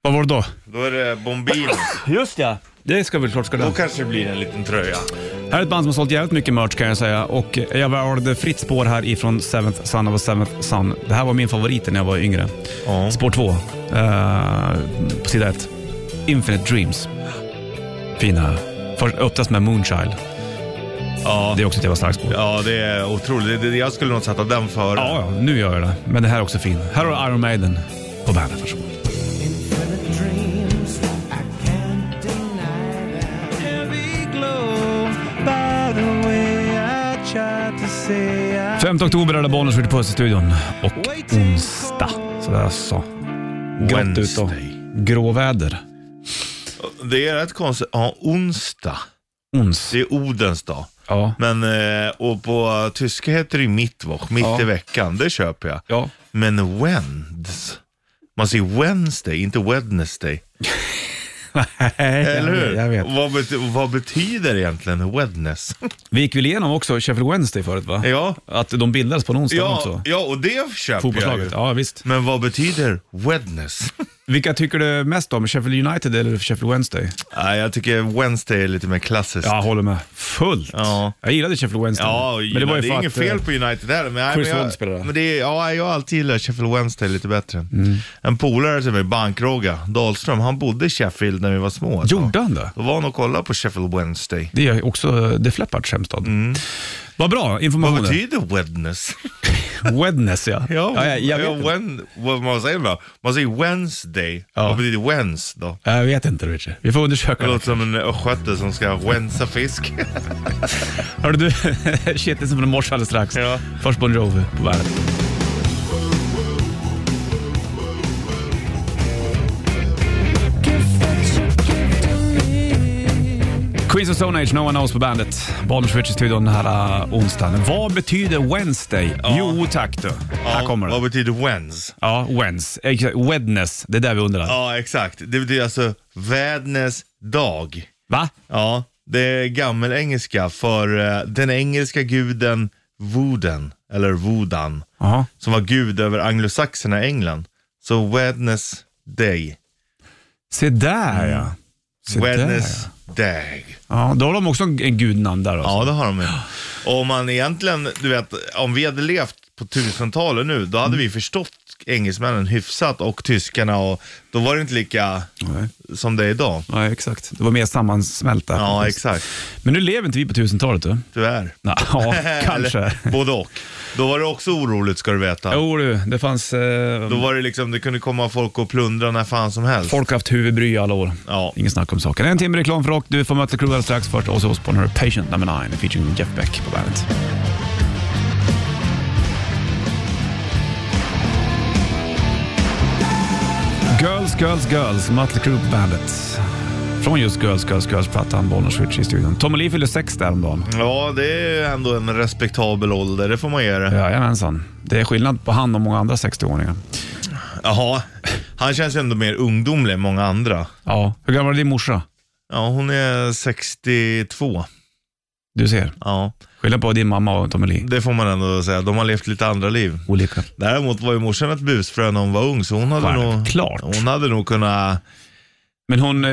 S2: Vad var det då?
S3: Då är det Bombino.
S2: Just ja. Det ska väl klart ska det.
S3: Då kanske det blir en liten tröja.
S2: Här är ett band som har sålt jävligt mycket merch kan jag säga och jag valde fritt spår här ifrån Seventh Son of a Seventh Son. Det här var min favorit när jag var yngre.
S3: Ja.
S2: Spår 2, på sida 1. Infinite Dreams. Fina. Först öppnas med Moonchild.
S3: Ja.
S2: Det är också ett jävla starkt spår. Ja.
S3: Ja, det är otroligt. Det- det- Jag skulle nog sätta den före.
S2: ja, nu gör jag det. Men det här är också fin. Här har Iron Maiden på bandet. Varsågod.
S8: Infinite dreams, I can't deny that. Heavy glow, by the way, I tried to say I
S2: 5 oktober är det Bonniers Ritty Puss i studion och onsdag. Så där så. Grått ut och
S3: Wednesday.
S2: gråväder.
S3: Det är rätt konstigt. Ja, onsdag.
S2: Ons.
S3: Det är Odens dag.
S2: Ja.
S3: Men, eh, och på tyska heter det ju Mittwoch, mitt
S2: Ja.
S3: i veckan. Det köper jag.
S2: Ja.
S3: Men Wends. Man säger Wednesday, inte Wednesday. Eller
S2: (laughs)
S3: hur?
S2: Jag vet.
S3: Vad, bet- vad betyder egentligen Wedness?
S2: Vi gick väl igenom också Sheffield Wednesday förut va?
S3: (laughs) Ja.
S2: Att de bildades på någon onsdag
S3: ja,
S2: också.
S3: ja, och det köper jag ju.
S2: Fotbollslaget, ja visst.
S3: Men vad betyder
S2: (laughs)
S3: Wedness?
S2: Vilka tycker du mest om? Sheffield United eller Sheffield Wednesday?
S3: Nej, jag tycker Wednesday är lite mer klassiskt.
S2: Jag håller med. Fullt.
S3: Ja.
S2: Jag gillade Sheffield Wednesday.
S3: Ja, men det, är inget fel
S2: eh,
S3: på United där. Men, nej,
S2: Chris
S3: men,
S2: Wood spelar där. Mm.
S3: jag, men det är, ja, jag har alltid gillat Sheffield Wednesday lite bättre. En polare till mig, bankrogga, Dahlström, han bodde i Sheffield när vi var små. ett tag.
S2: Gjorde han det?
S3: Då var han och kollade på Sheffield Wednesday.
S2: Det är också The Flappards hemstad. Vad bra
S3: Mm. Vad
S2: information.
S3: betyder (laughs) Wedness?
S2: Wedness ja. ja, jag, jag, vet, inte.
S3: wen, vad man säger då? Man säger Wednesday.
S2: Ja.
S3: Vad betyder Wednes då?
S2: jag vet inte Richard. Vi får
S3: Det
S2: undersöka det.
S3: låter som en östgöte som ska wensa fisk.
S2: Hörru du, (laughs) shitlisten från morse alldeles strax.
S3: Ja.
S2: Först Bon Jovi på bandet. Queens of Stone Age, No One Knows på bandet. Bonniers Rich i studion den här äh, onsdagen. Vad betyder Wednesday? Jo tack du. Här kommer
S3: Vad
S2: det.
S3: betyder Wednes?
S2: Ja, Wednes. Exakt, Wednes. Det är där vi undrar.
S3: Ja, exakt. Det betyder alltså vädnets dag.
S2: Va?
S3: Ja, det är gammelengelska för eh, den engelska guden Wooden, eller Wodan,
S2: Jaha.
S3: som var gud över anglosaxerna i England. Så Wednesday.
S2: Se där ja. Se där,
S3: Wednesday.
S2: ja. ja. Då har de också en en gudnamn där. Alltså.
S3: Ja, det har de ju. Och om man egentligen, du vet, om vi hade levt på 1000-talet nu, då
S2: Mm.
S3: hade vi förstått engelsmännen hyfsat och tyskarna och då var det inte lika
S2: Nej.
S3: som det är idag.
S2: Nej, exakt. Det var mer sammansmälta.
S3: Ja, exakt.
S2: Men nu lever inte vi på 1000-talet du.
S3: Tyvärr.
S2: Nå, (laughs) Ja, kanske.
S3: (laughs) Eller, både och. Då var det också oroligt ska du veta.
S2: Jo du, det fanns... Eh,
S3: Då var det liksom, det kunde komma folk och plundra när fan som helst.
S2: folk har haft huvudbry i alla år.
S3: Ja.
S2: Ingen snack om saken. En timme reklam för rock. Du får möta klubbar strax. Först Ozzy Osbourne, här är Patient number 9 featuring Jeff Beck på bandet. Girls, Girls, Girls, Mötley Crüe på bandet. Från just Girls, Girls, Girls-plattan, Bollnäs Switch i studion. Tommy Lee fyllde sex häromdagen.
S3: Ja, det är ändå en respektabel ålder, det får man ge det.
S2: Jajamensan. Det är skillnad på han och många andra 60-åringar.
S3: Jaha, han känns ändå mer ungdomlig än många andra.
S2: Ja. Hur gammal är din morsa?
S3: Ja, hon är 62.
S2: Du ser.
S3: Ja,
S2: Skillnad på din mamma och Tommy Lee.
S3: det får man ändå säga. De har levt lite andra liv.
S2: Olika.
S3: Däremot var ju morsan ett busfrö när hon var ung, så hon hade, nog,
S2: Självklart.
S3: hon hade nog kunnat
S2: Men hon eh,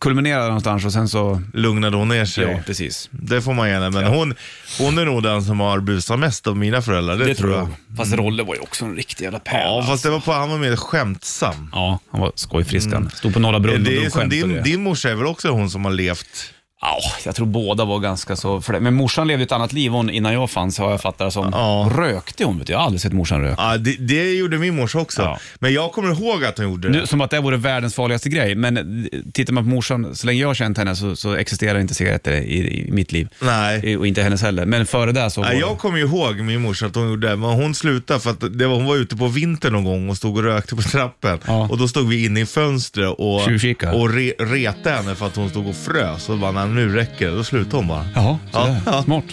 S2: kulminerade någonstans och sen så...
S3: lugna då ner sig.
S2: precis.
S3: Det får man ge henne. Men hon, hon är nog den som har busat mest av mina föräldrar. Det, tror jag.
S2: Fast Rolle var ju också en riktig jävla pärla.
S3: Ja, fast det var på, han var mer skämtsam.
S2: Ja, han var skojfrisk han. Mm. Stod på Norra Brunn
S3: det
S2: och
S3: är
S2: drog
S3: som
S2: skämt och
S3: din,
S2: det.
S3: din morsa är väl också hon som har levt?
S2: Ja, jag tror båda var ganska så... För det. Men morsan levde ett annat liv hon, innan jag fanns, har jag fattat det som.
S3: Ja.
S2: Rökte hon, vet du. Jag har aldrig sett morsan röka.
S3: Ja, det, det gjorde min morsa också.
S2: Ja.
S3: Men jag kommer ihåg att hon gjorde det.
S2: Nu, som att det vore världens farligaste grej, men eh, tittar man på morsan, så länge jag har känt henne så, så existerar inte cigaretter i, i mitt liv.
S3: Nej.
S2: I- Och inte hennes heller, men före det så var
S3: Nej, Eh. jag kommer ju ihåg min morsa att hon gjorde det, men hon slutade för att det var, hon var ute på vintern någon gång och stod och rökte på trappen.
S2: Ja.
S3: Och då stod vi inne i fönstret och,
S2: Tjuvkika.
S3: och re, retade henne för att hon stod och frös. Och bara, "Nej, nu räcker det. Då slutade hon bara.
S2: Jaha,
S3: Ja,
S2: sådär.
S3: ja.
S2: Smart.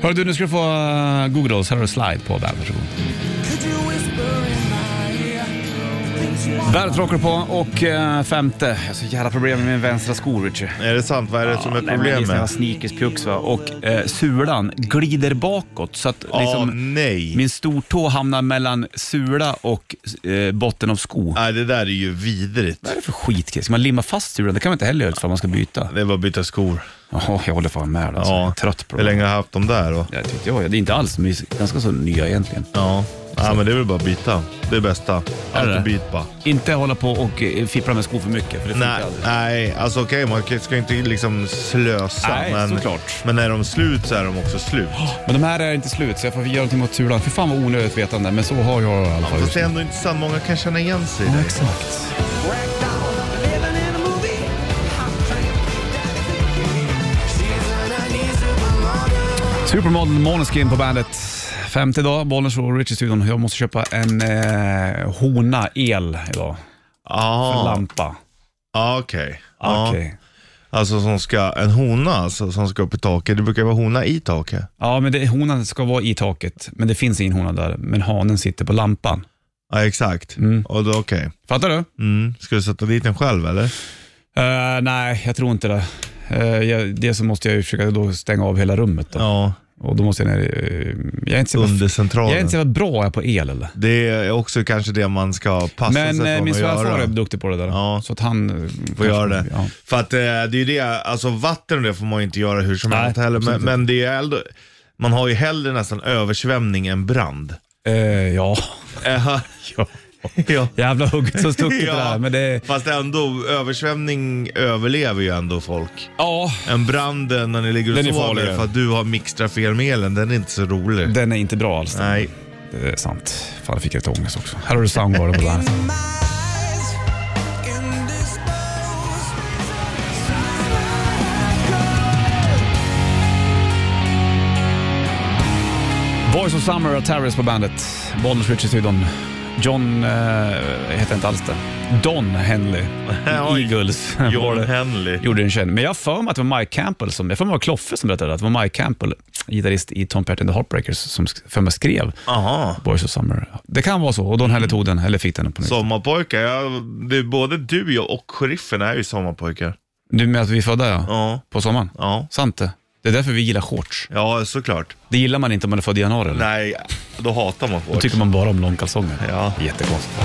S2: Hör du, nu ska du få uh, Google Dolls. Här har du Slide på bandet. Varsågod. Bandet rockar på och eh, femte. Jag har så jävla problem med min vänstra sko, Richard.
S3: Är det sant? Vad är det som är problemet?
S2: Jag har sneakerspjux va? och eh, sulan glider bakåt så att
S3: Ja,
S2: liksom,
S3: nej.
S2: min stortå hamnar mellan sula och eh, botten av sko.
S3: Nej, det där är ju vidrigt.
S2: Vad är det för skitgrej? Ska man limma fast sulan? Det kan man inte heller göra utifrån man ska byta.
S3: Det är bara att byta skor.
S2: Jaha, jag håller fan med. Alltså. Jag är trött på
S3: Hur länge har jag haft dem där? då?
S2: Ja, tyckte jag. Det är inte alls, men det är ganska så nya egentligen.
S3: Ja. ja, men det är väl bara att byta. Det är bästa.
S2: det?
S3: Alltid byt bara.
S2: Inte hålla på och eh, fippla med skor för mycket, för det funkar
S3: Nej,
S2: aldrig.
S3: nej, alltså okej, man ska inte liksom slösa.
S2: Nej,
S3: men,
S2: såklart.
S3: men när de är slut så är de också slut.
S2: Men de här är inte slut, så jag får göra någonting mot sulan. För fan vad onödigt vetande, men så har jag i alla fall
S3: Fast
S2: just
S3: det
S2: nu.
S3: är ändå intressant, många kan känna igen sig i
S2: Ja,
S3: det.
S2: exakt. Supermodel Måneskin på bandet. Femte dag, Bollnäs och Rich i studion. Jag måste köpa en eh, hona el idag.
S3: Ah,
S2: Lampa.
S3: ah, okej. Ja.
S2: Okej.
S3: Alltså som ska, en hona alltså, som ska upp i taket. Det brukar vara hona i taket.
S2: Ja, men det, honan ska vara i taket, men det finns ingen hona där. Men hanen sitter på lampan.
S3: Ja, exakt.
S2: Mm.
S3: Och då, okej.
S2: Fattar du?
S3: Mm. Ska du sätta dit den själv eller?
S2: Eh, nej, jag tror inte det. Eh, jag, dels så måste jag ju försöka då stänga av hela rummet. Då.
S3: Ja,
S2: Och då måste jag ner i- eh, jag är inte så jävla-
S3: under centralen.
S2: Jag är inte så jävla bra jag är på el eller?
S3: Det är också kanske det man ska passa sig
S2: Men
S3: från
S2: eh, min
S3: att
S2: svärfar
S3: göra.
S2: är duktig på det där.
S3: Ja.
S2: Så att han... eh,
S3: får
S2: kanske-
S3: göra det.
S2: Ja.
S3: För att eh, det är ju det, alltså vatten och det får man ju inte göra hur som
S2: Nej,
S3: helst heller. Men,
S2: absolut inte.
S3: men det är ändå, man har ju hellre nästan översvämning än brand.
S2: Eh, ja.
S3: Eh,
S2: (laughs) ja.
S3: ja.
S2: Jävla hugget som stucket
S3: (laughs)
S2: det där. Men det,
S3: Fast ändå, översvämning överlever ju ändå folk.
S2: ja,
S3: En brand eh, när ni ligger och
S2: Den är
S3: sover
S2: farligare.
S3: för att du har mixtrat fel med elen, den är inte så rolig.
S2: den är inte bra alls.
S3: Nej.
S2: Det är sant. Fan, jag fick lite ångest också. Här har du Soundgarden på
S3: (laughs)
S2: bandet. Boys of Summer och Terrorist på bandet. Bollnäs Richie studion. John eh, heter inte alls det. Don Henley.
S3: (laughs) Oj.
S2: Eagles. Var
S3: John
S2: det-
S3: Henley.
S2: (laughs) Gjorde en känd. Men jag har för mig att det var Mike Campbell som, jag för mig det var Kloffe som berättade att det var Mike Campbell, gitarrist i Tom Petty and the Heartbreakers, som sk- för mig skrev
S3: Aha.
S2: Boys of Summer. Det kan vara så. Och Don Henley tog den, eller fick den på nytt.
S3: Sommarpojkar, ja, det är både du och sheriffen är ju sommarpojkar.
S2: Du menar att vi är födda ja?
S3: Ja.
S2: På sommaren?
S3: Ja.
S2: Sant det. Det är därför vi gillar shorts.
S3: Ja, såklart.
S2: Det gillar man inte om man är född i januari eller?
S3: Nej, då hatar man
S2: Då
S3: folk.
S2: tycker man bara om långkalsonger.
S3: Ja.
S2: Jättekonstigt.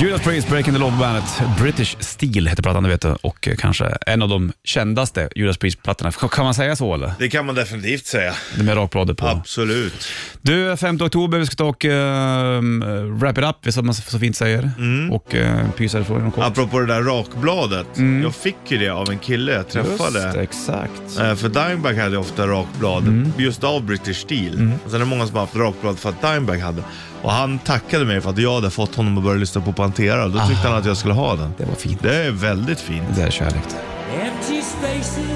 S2: Judas Priest, Breaking the Law på bandet. British Steel heter plattan, det vet du. Och eh, kanske en av de kändaste Judas Priest-plattorna. Kan kan man säga så eller?
S3: Det kan man definitivt säga.
S2: Det med rakbladet på.
S3: Absolut.
S2: Du, 5 oktober, vi ska ta och ehm, wrap it up, som man så fint säger.
S3: Mm.
S2: Och uh, pysa ifrån inom kort.
S3: Apropå det där rakbladet. Jag fick ju det av en kille jag
S2: Mm. Just det, Mm.
S3: träffade.
S2: exakt.
S3: Eh, För Dimebag hade ju ofta rakblad, just av British Steel.
S2: Mm.
S3: Och sen är det många som har haft rakblad för att Dimebag hade. Och han tackade mig för att jag hade fått honom att börja lyssna på Pantera. Då tyckte han att jag skulle ha den.
S2: Det var fint.
S3: Det är väldigt fint.
S2: Det är kärlek det.
S8: Empty spaces.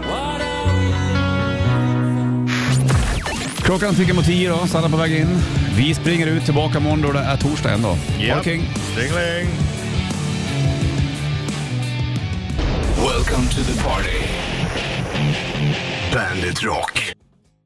S8: What are we
S2: Klockan tickar mot tio då, Sanna på väg in. Vi springer ut tillbaka imorgon då det är torsdag ändå. Ha det
S3: Japp.
S2: king.
S3: Dingeling!
S1: Welcome to the party. Bandit Rock.